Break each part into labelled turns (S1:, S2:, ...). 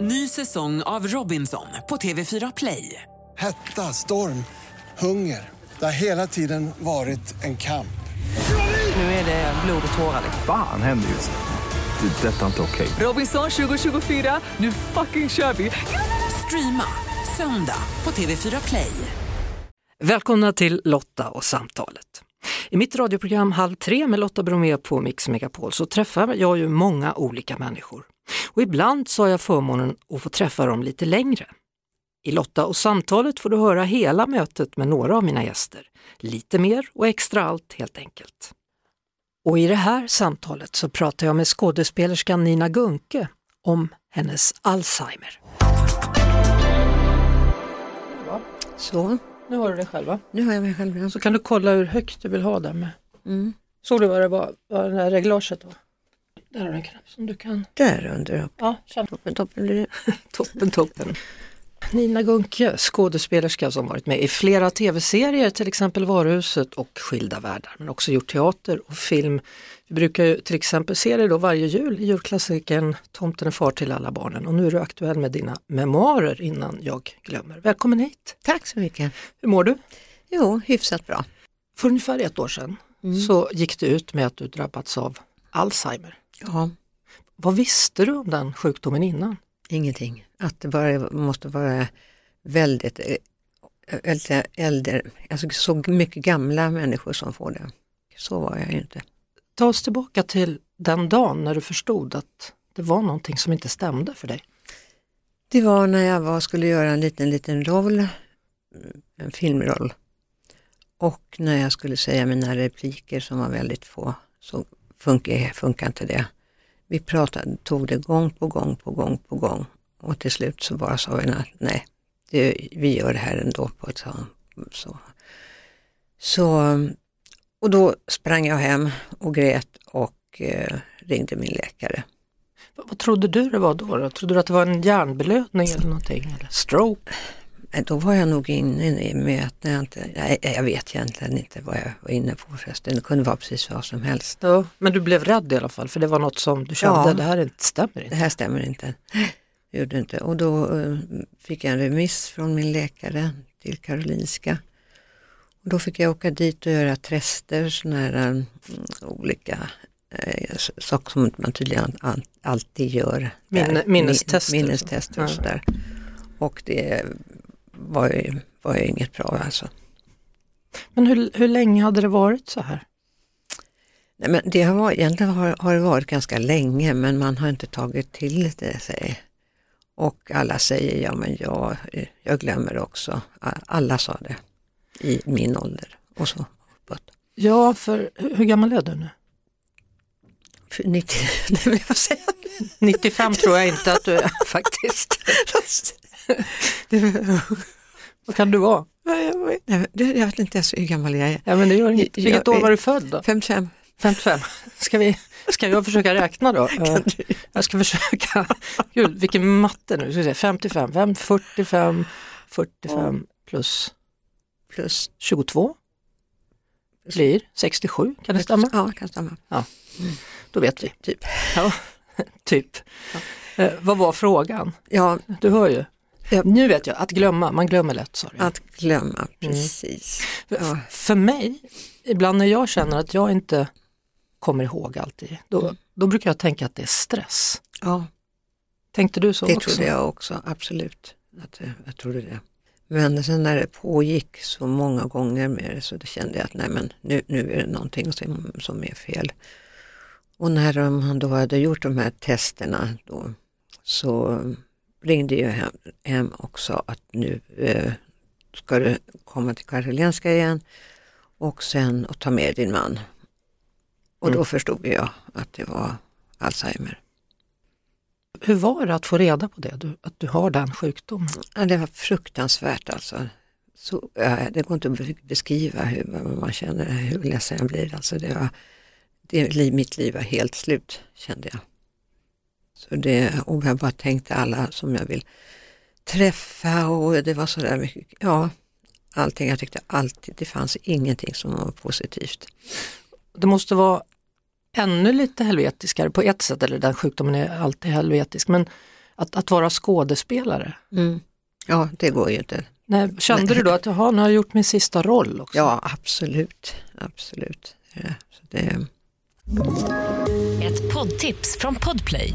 S1: Ny säsong av Robinson på TV4 Play.
S2: Hetta, storm, hunger. Det har hela tiden varit en kamp.
S1: Nu är det blod och tårar. liksom.
S3: Fan händer just nu. Det. är Detta är inte okej.
S1: Robinson 2024, nu fucking kör vi! Streama söndag på TV4 Play.
S4: Välkomna till Lotta och samtalet. I mitt radioprogram Halv tre med Lotta Bromé på Mix Megapol så träffar jag ju många olika människor. Och ibland så har jag förmånen att få träffa dem lite längre. I Lotta och samtalet får du höra hela mötet med några av mina gäster. Lite mer och extra allt helt enkelt. Och i det här samtalet så pratar jag med skådespelerskan Nina Gunke om hennes Alzheimer.
S5: Så,
S4: Nu hör du det själva.
S5: nu har jag mig själv. igen.
S4: Så kan du kolla hur högt du vill ha den med.
S5: Mm.
S4: Såg du vad det var, vad det här reglaget var? Där har du en knapp som du kan...
S5: Där under upp.
S4: Ja, känn.
S5: Toppen, toppen blir det.
S4: Toppen, toppen. Nina Gunke, skådespelerska som varit med i flera tv-serier, till exempel Varuhuset och Skilda världar, men också gjort teater och film. Vi brukar ju till exempel se dig då varje jul i julklassikern Tomten är far till alla barnen och nu är du aktuell med dina memoarer innan jag glömmer. Välkommen hit!
S5: Tack så mycket.
S4: Hur mår du?
S5: Jo, hyfsat bra.
S4: För ungefär ett år sedan så gick du ut med att du drabbats av Alzheimer.
S5: Ja,
S4: Vad visste du om den sjukdomen innan?
S5: ingenting. Att det bara måste vara väldigt eh, äldre, äldre, alltså så mycket gamla människor som får det. Så var jag ju inte.
S4: Ta oss tillbaka till den dagen när du förstod att det var någonting som inte stämde för dig.
S5: Det var när jag var, skulle göra en liten, liten roll, eh, en filmroll. Och när jag skulle säga mina repliker som var väldigt få, så funkar, funkar inte det. Vi pratade, tog det gång på gång på gång på gång. Och till slut så bara sa vi att nej, det, vi gör det här ändå på ett sånt så. så. Och då sprang jag hem och grät och eh, ringde min läkare.
S4: Vad, vad trodde du det var då? då? Trodde du att det var en hjärnblödning eller någonting? Eller stroke?
S5: Nej, Då var jag nog inne i- med att när jag inte, nej, jag vet egentligen inte vad jag var inne på förresten. Det kunde vara precis vad som helst.
S4: Ja, men du blev rädd i alla fall för det var något som du kände,
S5: Ja.
S4: det här inte stämmer
S5: Det
S4: inte.
S5: här stämmer inte. Det Gjorde inte. Och då eh, fick jag en remiss från min läkare till Karolinska. Och då fick jag åka dit och göra tester, sådana här mm, olika eh, s- saker som man tydligen an- alltid gör. där.
S4: Minne- minnestester.
S5: Min, minnestester och
S4: Ja.
S5: sådär. Och det var ju, var ju inget bra alltså.
S4: Men hur, hur länge hade det varit så här?
S5: Nej, men det har varit, egentligen har, har det varit ganska länge men man har inte tagit till det sig. Och alla säger, ja men jag, jag glömmer också. Alla sa det i min ålder och så uppåt.
S4: Ja, för hur hur gammal är du nu?
S5: För 90, nej men vad säger jag?
S4: 95 tror jag inte att du är faktiskt. Vad kan du vara?
S5: Nej, men det- Jag vet inte ens hur gammal jag är.
S4: Ja, men det gör inget.
S5: Jag-
S4: Vilket år var du född då?
S5: 55.
S4: 55. Ska, vi, ska jag försöka räkna då? Eh, Jag ska försöka. Gud, vilken matte nu. Ska vi se. 55, 5, 45, 45 plus
S5: Plus.
S4: 22 blir 67. Kan det stämma?
S5: Ja, det kan stämma.
S4: Då vet vi.
S5: Typ.
S4: Ja, typ. Eh, vad var frågan?
S5: Ja,
S4: Du hör ju.
S5: Ja.
S4: Nu vet jag, att glömma, man glömmer lätt sa du.
S5: att glömma,
S4: Mm.
S5: precis.
S4: F-
S5: Ja.
S4: För mig, ibland när jag känner att jag inte kommer ihåg alltid,
S5: Mm.
S4: då, då brukar jag tänka att det är stress.
S5: Ja.
S4: Tänkte du så
S5: Det
S4: också?
S5: trodde jag också, absolut. Att, eh, jag trodde det. Men sen när det pågick så många gånger med det så då kände jag att nej men nu, nu är det någonting som, som är fel. Och när de, han då hade gjort de här testerna då så ringde jag hem, hem och sa att nu eh, ska du komma till Karolinska igen och sen och ta med din man. Och
S4: Mm.
S5: då förstod jag att det var Alzheimer.
S4: Hur var det att få reda på det, du, att du har den sjukdomen?
S5: Ja, det var fruktansvärt alltså. Så, ja, det går inte att be- beskriva hur vad man känner, hur ledsen jag blir. Alltså, det var, det, li- mitt liv var helt slut kände jag. Så det, och jag bara tänkte alla som jag vill träffa och det var sådär mycket, ja, allting. Jag tyckte alltid, det fanns ingenting som var positivt.
S4: Det måste vara ännu lite helvetiskare på ett sätt, eller den sjukdomen är alltid helvetisk, men att, att vara skådespelare.
S5: Mm. Ja, det går ju inte.
S4: Nej, kände du då att jaha, nu har jag gjort min sista roll också?
S5: Ja, absolut. Absolut. Ja, så det,
S6: Ett poddtips från Podplay.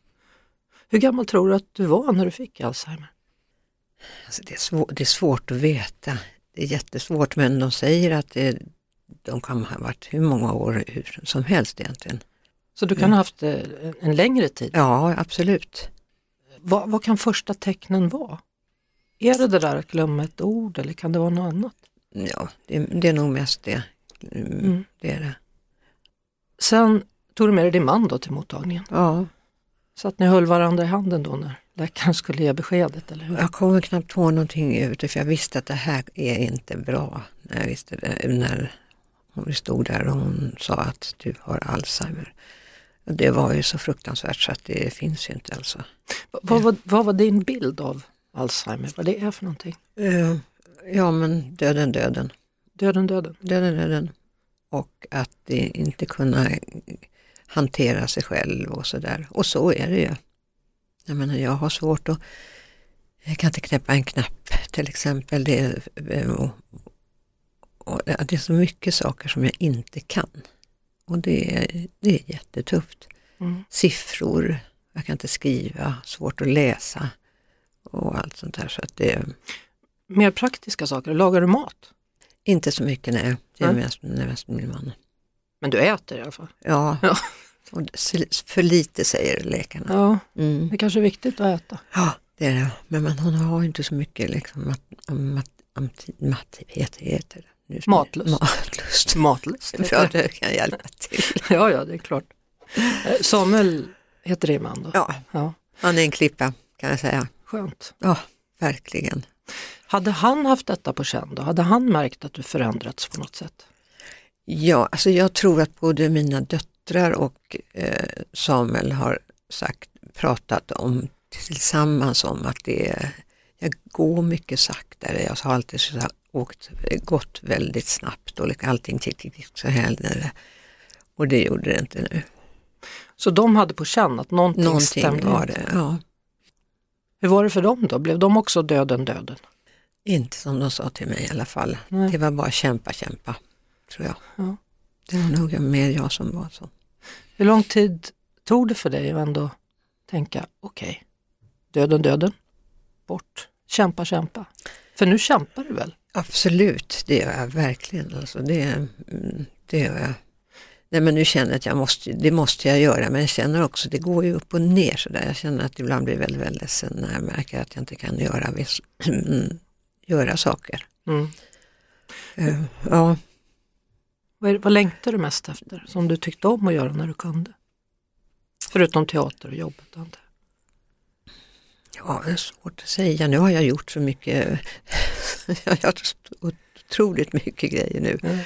S4: Hur gammal tror du att du var när du fick Alzheimer?
S5: alltså det, är svår, det är svårt att veta. Det är jättesvårt men de säger att det, de kan ha varit hur många år hur som helst egentligen.
S4: Så du kan
S5: Mm.
S4: ha haft eh, en- en längre tid.
S5: Ja, absolut.
S4: Vad, vad kan första tecknen vara? Är det det där att glömma ett ord eller kan det vara något annat?
S5: Ja, det, det är nog mest det. Mm,
S4: Mm.
S5: det, är det.
S4: Sen tog du med dig din man då till mottagningen.
S5: Ja,
S4: Så att ni höll varandra i handen då när läkaren skulle ge beskedet, eller hur?
S5: jag kommer knappt ihåg någonting ut för jag visste att det här är inte bra. När jag visste det, när hon stod där och hon sa att du har Alzheimer. Och det var ju så fruktansvärt så att det finns ju inte alltså.
S4: Va- Vad, vad, vad var din bild av Alzheimer, vad det är för någonting?
S5: Eh, Ja men döden, döden.
S4: Döden, döden.
S5: döden, döden. Och att det inte kunna hantera sig själv och sådär. Och så är det ju. Jag menar, jag har svårt att... Jag kan inte knäppa en knapp till exempel. Det är, eh, och, och, det är så mycket saker som jag inte kan. Och det är, det är jättetufft.
S4: Mm.
S5: Siffror, jag kan inte skriva, svårt att läsa och allt sånt där. Så att det är
S4: Mer praktiska saker, lagar du mat?
S5: inte så mycket, nej. Det är
S4: Nej.
S5: mest, det är mest min man.
S4: Men du äter i alla fall?
S5: Ja,
S4: Ja.
S5: och s- för lite säger läkarna.
S4: Ja,
S5: Mm.
S4: det kanske är viktigt att äta.
S5: Ja, det är det. Men man, hon har ju inte så mycket liksom, mat, mat, mat, mat, heter, heter det. Nu-
S4: Matlust.
S5: Matlust.
S4: Matlust.
S5: Ja, det kan hjälpa till.
S4: ja, ja, det är klart. Eh, Samuel heter din man då?
S5: Ja,
S4: ja.
S5: han är en klippa kan jag säga.
S4: Skönt.
S5: Ja, verkligen.
S4: Hade han haft detta på känn då? Hade han märkt att du förändrats på något sätt?
S5: Ja, alltså jag tror att både mina döttrar och eh, Samuel har sagt, pratat om tillsammans om att det är, jag går mycket saktare. Jag har alltid så här, åkt, gått väldigt snabbt och liksom allting tick, tick, tick, så här. Och det gjorde det inte nu.
S4: Så de hade på känn att någonting,
S5: Någonting
S4: stämde
S5: var
S4: inte.
S5: det. Ja,
S4: Hur var det för dem då? Blev de också döden döden?
S5: inte som de sa till mig i alla fall.
S4: Nej.
S5: Det var bara kämpa, kämpa, tror jag.
S4: Ja.
S5: Det var nog mer jag som var så.
S4: Hur lång tid tog det för dig att ändå tänka, okej, döden döden, bort, kämpa kämpa. För nu kämpar du väl?
S5: Absolut, det gör jag verkligen. Alltså det, mm, det gör jag. Nej, men nu känner jag att jag måste, det måste jag göra, men jag känner också det går ju upp och ner sådär. Jag känner att ibland blir jag väldigt, väldigt ledsen när jag märker att jag inte kan göra, viss, mm, göra saker.
S4: Mm.
S5: Eh, Ja,
S4: Vad, är, vad längtar du mest efter som du tyckte om att göra när du kunde? Förutom teater och jobbet antar jag.
S5: ja, det är svårt att säga. Nu har jag gjort så mycket, jag har gjort så otroligt mycket grejer nu.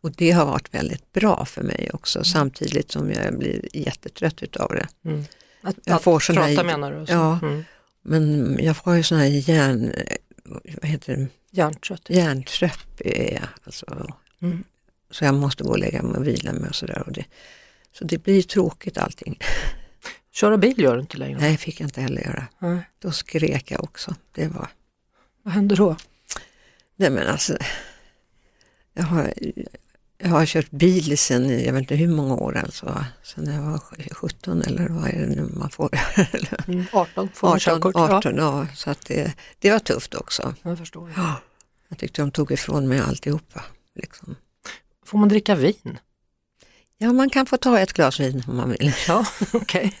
S5: Och det har varit väldigt bra för mig också, samtidigt som jag blir jättetrött utav det.
S4: Mm. Att,
S5: Jag
S4: att
S5: får sån här-
S4: prata menar du? och så.
S5: Ja.
S4: Mm.
S5: Men jag har ju sån här järn, vad heter det,
S4: Hjärntrött.
S5: hjärntröpp är jag. Alltså.
S4: Mm.
S5: Så jag måste gå och lägga mig och vila mig och sådär. och det- Så det blir tråkigt allting.
S4: Köra bil gör du inte längre?
S5: Nej, fick jag inte heller göra.
S4: Nej.
S5: Då skrek jag också. Det var,
S4: Vad händer då?
S5: nej men alltså, jag har, jag har kört bil sen, jag vet inte hur många år alltså, sen jag var 17 eller vad är det nu man får? Eller
S4: 18 får man
S5: 18,
S4: körkort? Ja.
S5: 18 ja. Så att det, det var tufft också.
S4: Jag förstår.
S5: Jag tyckte de tog ifrån mig alltihopa. Liksom.
S4: Får man dricka vin?
S5: Ja, man kan få ta ett glas vin om man vill.
S4: Ja, okej.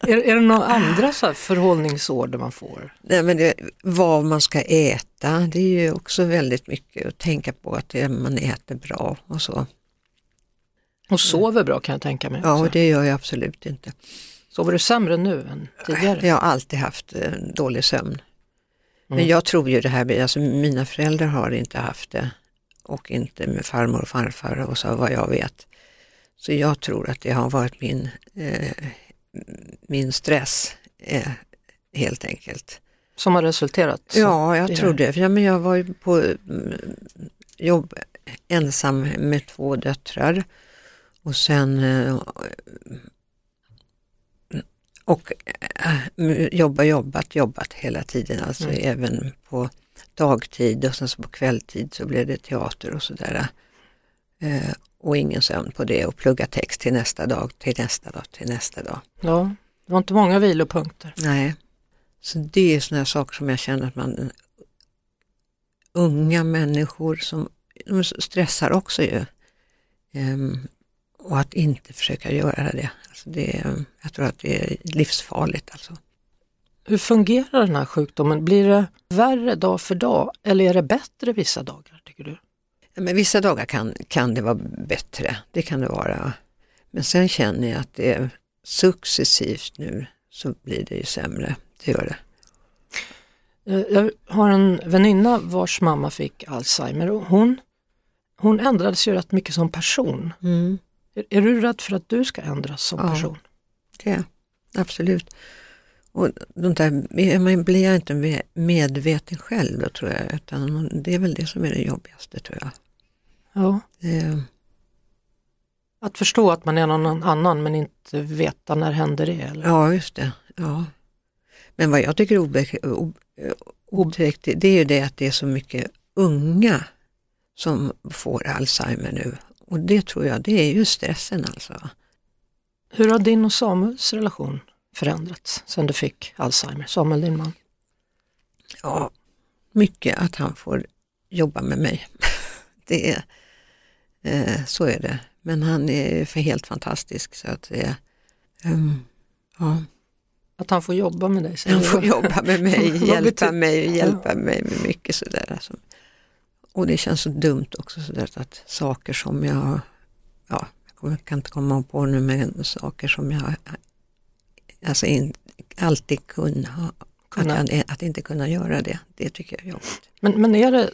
S4: är, är det några andra så här förhållningsorder man får?
S5: Nej, men det, vad man ska äta, det är ju också väldigt mycket att tänka på att det, man äter bra och så.
S4: Och sover bra kan jag tänka mig.
S5: Ja,
S4: också.
S5: och det gör jag absolut inte.
S4: Sover du sämre nu än tidigare?
S5: Jag har alltid haft eh, dålig sömn. Men jag tror ju det här, blir- alltså mina föräldrar har inte haft det och inte med farmor och farfar och så vad jag vet. Så jag tror att det har varit min, eh, min stress eh, helt enkelt.
S4: Som har resulterat? så-
S5: Ja,
S4: det
S5: jag
S4: är-
S5: tror det. För ja, men jag var ju på mm, jobb ensam med två döttrar och sen eh, och eh, jobba, jobbat, jobbat hela tiden, alltså även på dagtid och sen så på kvälltid så blev det teater och sådär. Eh, och ingen sömn på det och plugga text till nästa dag, till nästa dag, till nästa dag.
S4: ja. Det var inte många vilopunkter.
S5: Nej, så det är sådana saker som jag känner att man unga människor som de stressar också ju. Ehm, och att inte försöka göra det. Alltså det är- jag tror att det är livsfarligt. Alltså.
S4: Hur fungerar den här sjukdomen? Blir det värre dag för dag eller är det bättre vissa dagar tycker du?
S5: Ja, Men vissa dagar kan, kan det vara bättre, det kan det vara. Men sen känner jag att det är successivt nu så blir det ju sämre. Det gör det.
S4: Eh, Jag har en väninna vars mamma fick Alzheimer och hon, hon ändrades ju rätt mycket som person. Är, är du rädd för att du ska ändras som
S5: Ja.
S4: person?
S5: det, absolut. Och de där, är man- blir jag inte me- medveten själv då tror jag, utan man- det är väl det som är det jobbigaste tror jag.
S4: Ja.
S5: Eh,
S4: Att förstå att man är någon annan men inte veta när händer det? Eller?
S5: Ja, just det. Ja. Men vad jag tycker är obe- o- eh, otäckt, det- det är ju det att det är så mycket unga som får Alzheimer nu. Och det tror jag, det är ju stressen alltså.
S4: Hur har din och Samuels relation förändrats sedan du fick Alzheimer? Samuel, din man.
S5: Ja, mycket att han får jobba med mig. det är, eh, så är det. Men han är ju för helt fantastisk så att det är, ehm, ja,
S4: Att han får jobba med dig? säger
S5: han
S4: du.
S5: får jobba med mig,
S4: Vad
S5: hjälpa
S4: betyder-
S5: mig, hjälpa mig med mycket sådär. Alltså. Och det känns så dumt också sådär att saker som jag, ja, jag kommer- kan inte komma på nu, men saker som jag alltså in, alltid kunde ha,
S4: Kunna.
S5: Att, jag, att inte kunna göra det, det tycker jag är jobbigt.
S4: Men, men är, det,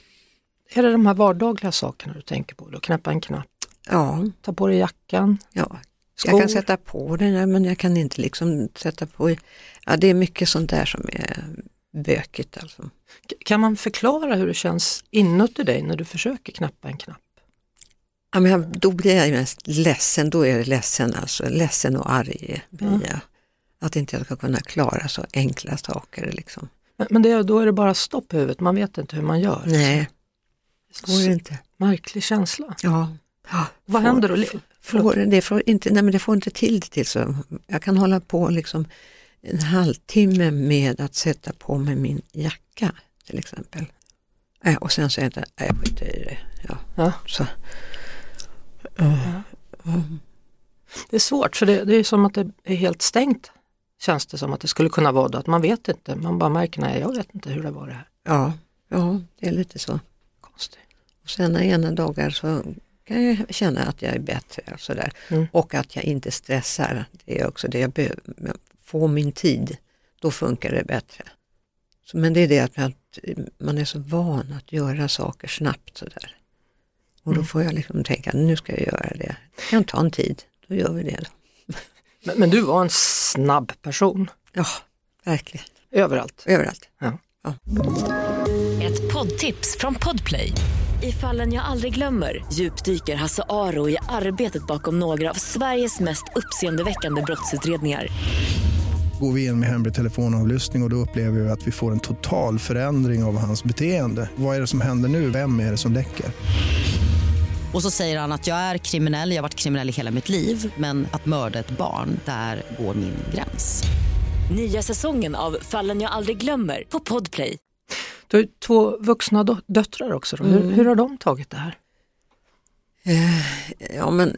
S4: är det de här vardagliga sakerna du tänker på? Då? Knäppa en knapp,
S5: Ja,
S4: ta på dig jackan,
S5: ja.
S4: Skor.
S5: Jag kan sätta på den där, men jag kan inte liksom sätta på. Ja, det är mycket sånt där som är bökigt alltså.
S4: K- Kan man förklara hur det känns inuti dig när du försöker knäppa en knapp?
S5: Ja, men jag, då blir jag ju mest ledsen, då är det ledsen alltså. Ledsen och arg blir jag. Att inte jag ska kunna klara så enkla saker liksom.
S4: Men, men det, är- då är det bara stopp i huvudet, man vet inte hur man gör.
S5: Nej,
S4: Så
S5: går det inte.
S4: Märklig känsla.
S5: Alltså. Ja. Ja,
S4: Vad
S5: får-
S4: händer då? Le-
S5: Får, det, får inte, nej men det får inte till det till så. Jag kan hålla på liksom en halvtimme med att sätta på mig min jacka till exempel. Äh, och sen säger jag inte, nej jag skiter i det. Ja,
S4: Ja.
S5: så.
S4: Det är svårt för det, det är som att det är helt stängt känns det som att det skulle kunna vara då, att man vet inte, man bara märker nej jag vet inte hur det var det här.
S5: ja, ja, det är lite så.
S4: Konstigt.
S5: Och sen ena dagar så kan jag känna att jag är bättre och sådär.
S4: Mm.
S5: Och att jag inte stressar. Det är också det jag behöver. Jag får min tid, då funkar det bättre. Så, men det är det att man, man är så van att göra saker snabbt sådär. Och
S4: Mm.
S5: då får jag liksom tänka, nu ska jag göra det. Det kan ta en tid, då gör vi det. Då.
S4: Men, men du var en snabb person
S5: Ja, verkligen.
S4: överallt.
S5: Överallt.
S6: Ett poddtips från Podplay. I fallen jag aldrig glömmer djupdyker Hasse Aro i arbetet bakom några av Sveriges mest uppseendeväckande brottsutredningar.
S7: Går vi in med hemlig telefonavlyssning och, och då upplever vi att vi får en total förändring av hans beteende. Vad är det som händer nu? Vem är det som läcker?
S8: Och så säger han att jag är kriminell, jag har varit kriminell i hela mitt liv men att mörda ett barn, där går min gräns.
S6: Nya säsongen av Fallen jag aldrig glömmer på Podplay.
S4: Du har ju två vuxna dö- döttrar också, då. Hur, hur har de tagit det här?
S5: Ja men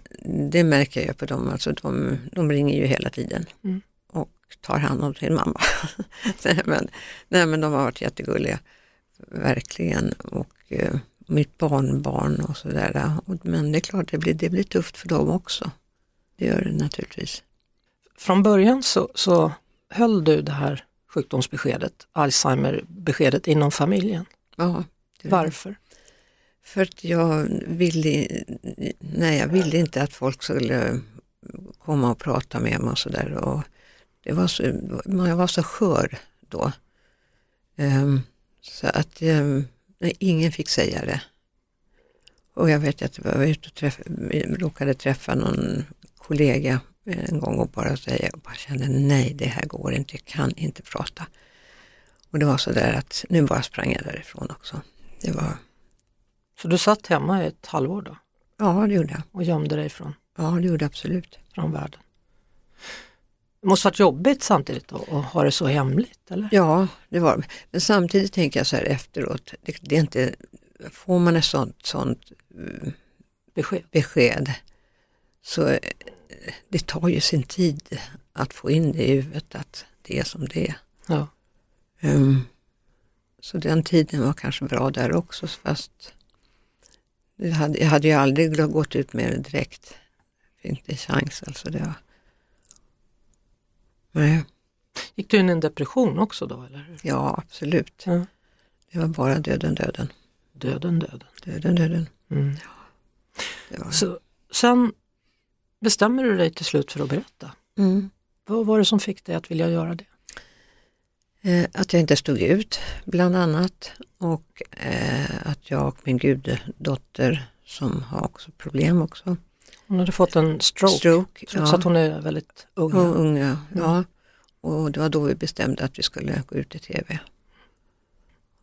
S5: det märker jag på dem, alltså de, de ringer ju hela tiden och tar hand om sin mamma. nej, men, nej men de har varit jättegulliga, verkligen. Och eh, mitt barnbarn och sådär. Och- Men det är klart, det blir, det blir tufft för dem också. Det gör det naturligtvis.
S4: Från början så, så höll du det här sjukdomsbeskedet, Alzheimer-beskedet inom familjen.
S5: Ja, det-
S4: Varför?
S5: För att jag ville, nej, jag ville inte att folk skulle komma och prata med mig och sådär. Och det var så, jag var så skör då. Ehm, så att ehm, nej, ingen fick säga det. Och jag vet att jag var ute och träff, råkade träffa någon kollega en gång och bara säga, och bara kände nej det här går inte, jag kan inte prata. Och det var sådär att nu bara sprang jag därifrån också. Det var,
S4: Så du satt hemma i ett halvår då
S5: ja det gjorde jag.
S4: och gömde dig från,
S5: Ja, det gjorde jag absolut.
S4: från världen? Det måste varit jobbigt samtidigt då, att ha det så hemligt, eller?
S5: Ja, det var det. Men samtidigt tänker jag så här efteråt, det, det är inte, får man ett sånt, sånt eh,
S4: Besked.
S5: besked så eh, det tar ju sin tid att få in det i huvudet att det är som det är.
S4: Ja.
S5: Ehm, så den tiden var kanske bra där också fast det hade, jag hade ju aldrig gått ut med det direkt. Inte en chans alltså. Det var... Nej,
S4: Gick du in i en depression också då, eller? hur?
S5: ja absolut.
S4: Ja.
S5: Det var bara döden, döden.
S4: Döden, döden.
S5: Döden, döden.
S4: Mm.
S5: Det var.
S4: Så, sen bestämmer du dig till slut för att berätta.
S5: Mm.
S4: Vad var det som fick dig att vilja göra det?
S5: Eh, att jag inte stod ut bland annat och eh, att jag och min guddotter som har också problem också.
S4: Hon hade fått en stroke,
S5: Stroke.
S4: trots
S5: ja.
S4: att hon Mm. är väldigt ung.
S5: Och unga. Ja. Och det var då vi bestämde att vi skulle gå ut i tv.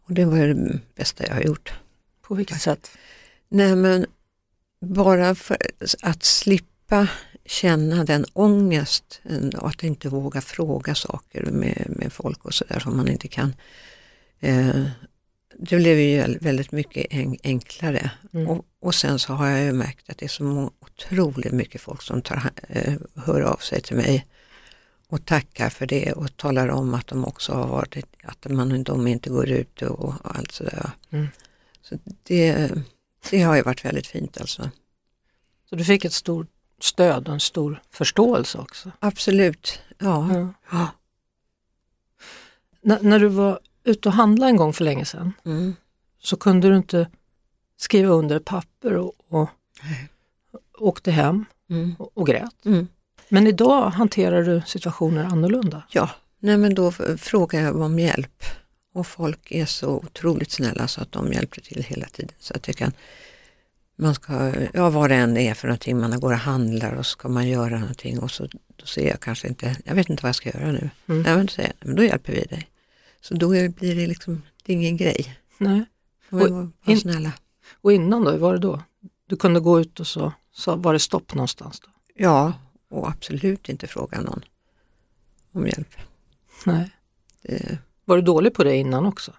S5: Och det var det bästa jag har gjort.
S4: På vilket sätt?
S5: Nej men bara för att slippa känna den ångesten och att inte våga fråga saker med, med folk och sådär som man inte kan. Eh, det blev ju väldigt mycket en, enklare.
S4: Mm.
S5: Och, och sen så har jag ju märkt att det är så må- otroligt mycket folk som tar, ha- eh, hör av sig till mig och tackar för det och talar om att de också har varit, att man, de inte går ut och, och allt sådär.
S4: Mm.
S5: Så det, det har ju varit väldigt fint alltså.
S4: Så du fick ett stort stöd och en stor förståelse också.
S5: Absolut, ja.
S4: Ja.
S5: ja.
S4: N- när du var ute och handlade en gång för länge sedan
S5: Mm.
S4: så kunde du inte skriva under papper och, och åkte hem
S5: Mm.
S4: och, och grät.
S5: Mm.
S4: Men idag hanterar du situationer annorlunda.
S5: Ja, nej men då f- frågar jag om hjälp och folk är så otroligt snälla så att de hjälper till hela tiden. Så att jag kan, man ska, ja vad det än är för någonting, man går och handlar och så ska man göra någonting och så då ser jag kanske inte, jag vet inte vad jag ska göra nu.
S4: Mm.
S5: Nej men då säger jag, men då hjälper vi dig. Så då är, blir det liksom, det är ingen grej.
S4: Nej.
S5: Men
S4: Och
S5: var, var
S4: in-
S5: snälla.
S4: Och innan då, hur var det då? Du kunde gå ut och så, så var det stopp någonstans. Då.
S5: Ja, och absolut inte fråga någon om hjälp.
S4: Nej.
S5: Det,
S4: Eh. Var du dålig på det innan också?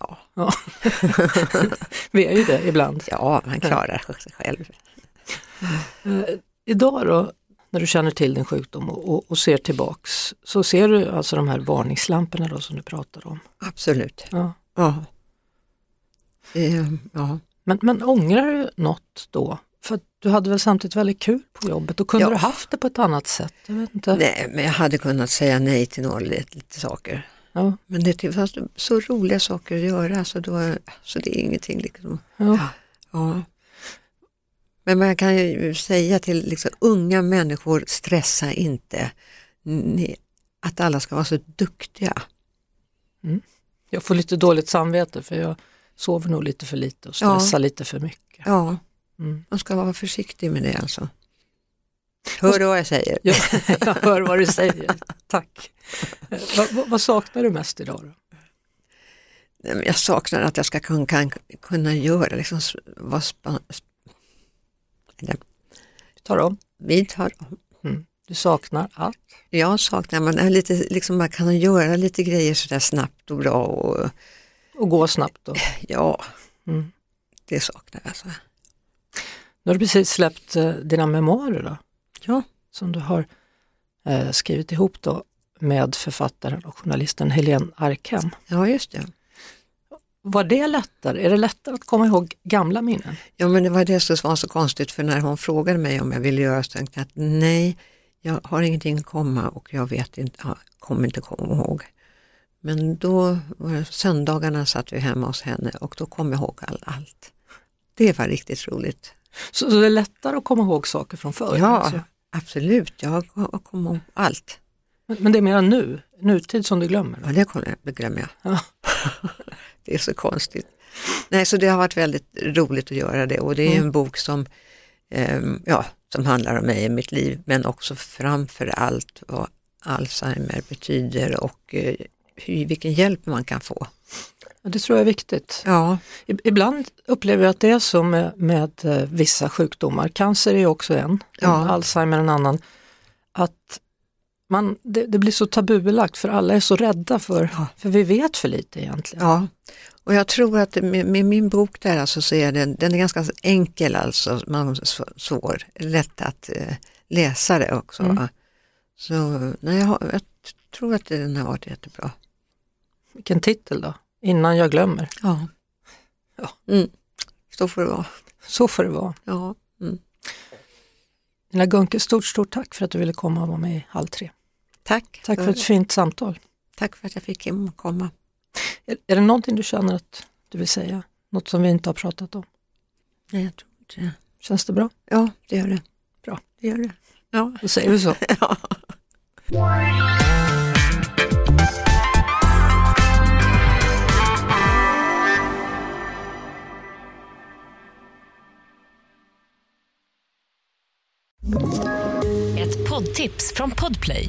S5: Ja.
S4: ja. Vi är ju det ibland.
S5: ja, man klarar sig själv.
S4: Eh, idag då, när du känner till din sjukdom och, och, och ser tillbaks, så ser du alltså de här varningslamporna då som du pratar om.
S5: Absolut.
S4: Ja.
S5: Ja. Det, ja.
S4: Men, men ångrar du något då? För att du hade väl samtidigt väldigt kul på jobbet och kunde
S5: Ja.
S4: du haft det på ett annat sätt? Jag vet inte.
S5: Nej, men jag hade kunnat säga nej till några lite, lite saker.
S4: Ja,
S5: Men det fanns så roliga saker att göra så, då, så det är ingenting. Liksom.
S4: ja.
S5: Ja. Men man kan ju säga till liksom, unga människor, stressa inte. Ni, att alla ska vara så duktiga.
S4: Jag får lite dåligt samvete för jag sover nog lite för lite och
S5: Ja.
S4: stressar lite för mycket.
S5: Ja,
S4: Mm.
S5: man ska vara försiktig med det alltså. Hör du vad jag säger?
S4: Jag, jag hör vad du säger, tack. Eh, vad- vad- vad saknar du mest idag då?
S5: Nej, men Jag saknar att jag ska kun- kan, kunna göra, liksom, s- vara spa,
S4: Vi tar om.
S5: Vi tar om.
S4: Du saknar att?
S5: Jag saknar man är lite, liksom man kan göra lite grejer sådär snabbt och bra och
S4: Och gå snabbt då.
S5: ja,
S4: Mm.
S5: det saknar jag. Alltså.
S4: Nu har du precis släppt eh, dina memoarer då,
S5: Ja.
S4: som du har eh, skrivit ihop då med författaren och journalisten Helene Arkem.
S5: ja, just det.
S4: Var det lättare? Är det lättare att komma ihåg gamla minnen?
S5: Ja, men det var det som var så konstigt för när hon frågade mig om jag ville göra så tänkte jag att nej, jag har ingenting att komma och jag vet inte, ja, kommer inte komma ihåg. Men då, var det- söndagarna satt vi hemma hos henne och då kom jag ihåg all, allt. Det var riktigt roligt.
S4: Så, så det är lättare att komma ihåg saker från förr?
S5: Ja,
S4: alltså.
S5: absolut. Jag kom- kom ihåg allt.
S4: Men, men det är mera nu, nutid som du glömmer?
S5: Ja, det kommer jag- det glömmer jag.
S4: Ja.
S5: det är så konstigt. Nej, så det har varit väldigt roligt att göra det och det är en bok som, ehm, ja, som handlar om mig i mitt liv, men också framför allt vad Alzheimer betyder och eh, hur, vilken hjälp man kan få.
S4: Ja, det tror jag är viktigt.
S5: Ja,
S4: I- Ibland upplever jag att det är så med, med eh, vissa sjukdomar, cancer är också en,
S5: Ja.
S4: Alzheimer en annan, att man, det, det blir så tabubelagt för alla är så rädda för, för vi vet för lite egentligen.
S5: ja. Och jag tror att med, med min bok där alltså så är den, den är ganska enkel alltså, man sv- svår, lätt att eh, läsa det också. va. Så nej, jag, har, jag tror att den har varit jättebra.
S4: Vilken titel då, innan jag glömmer.
S5: Ja.
S4: Ja.
S5: Mm. Så får det vara.
S4: Så får det vara.
S5: Ja. Mm.
S4: Nina Gunke, stort, stort tack för att du ville komma och vara med i Halv tre.
S5: Tack,
S4: Tack för ett fint samtal.
S5: tack för att jag fick hem komma.
S4: Är, är det någonting du känner att du vill säga? Något som vi inte har pratat om?
S5: Nej, jag tror inte det.
S4: Känns det bra?
S5: Ja, det gör det.
S4: Bra.
S5: Det gör det. Ja.
S4: Då säger vi så.
S6: Ett poddtips från Podplay.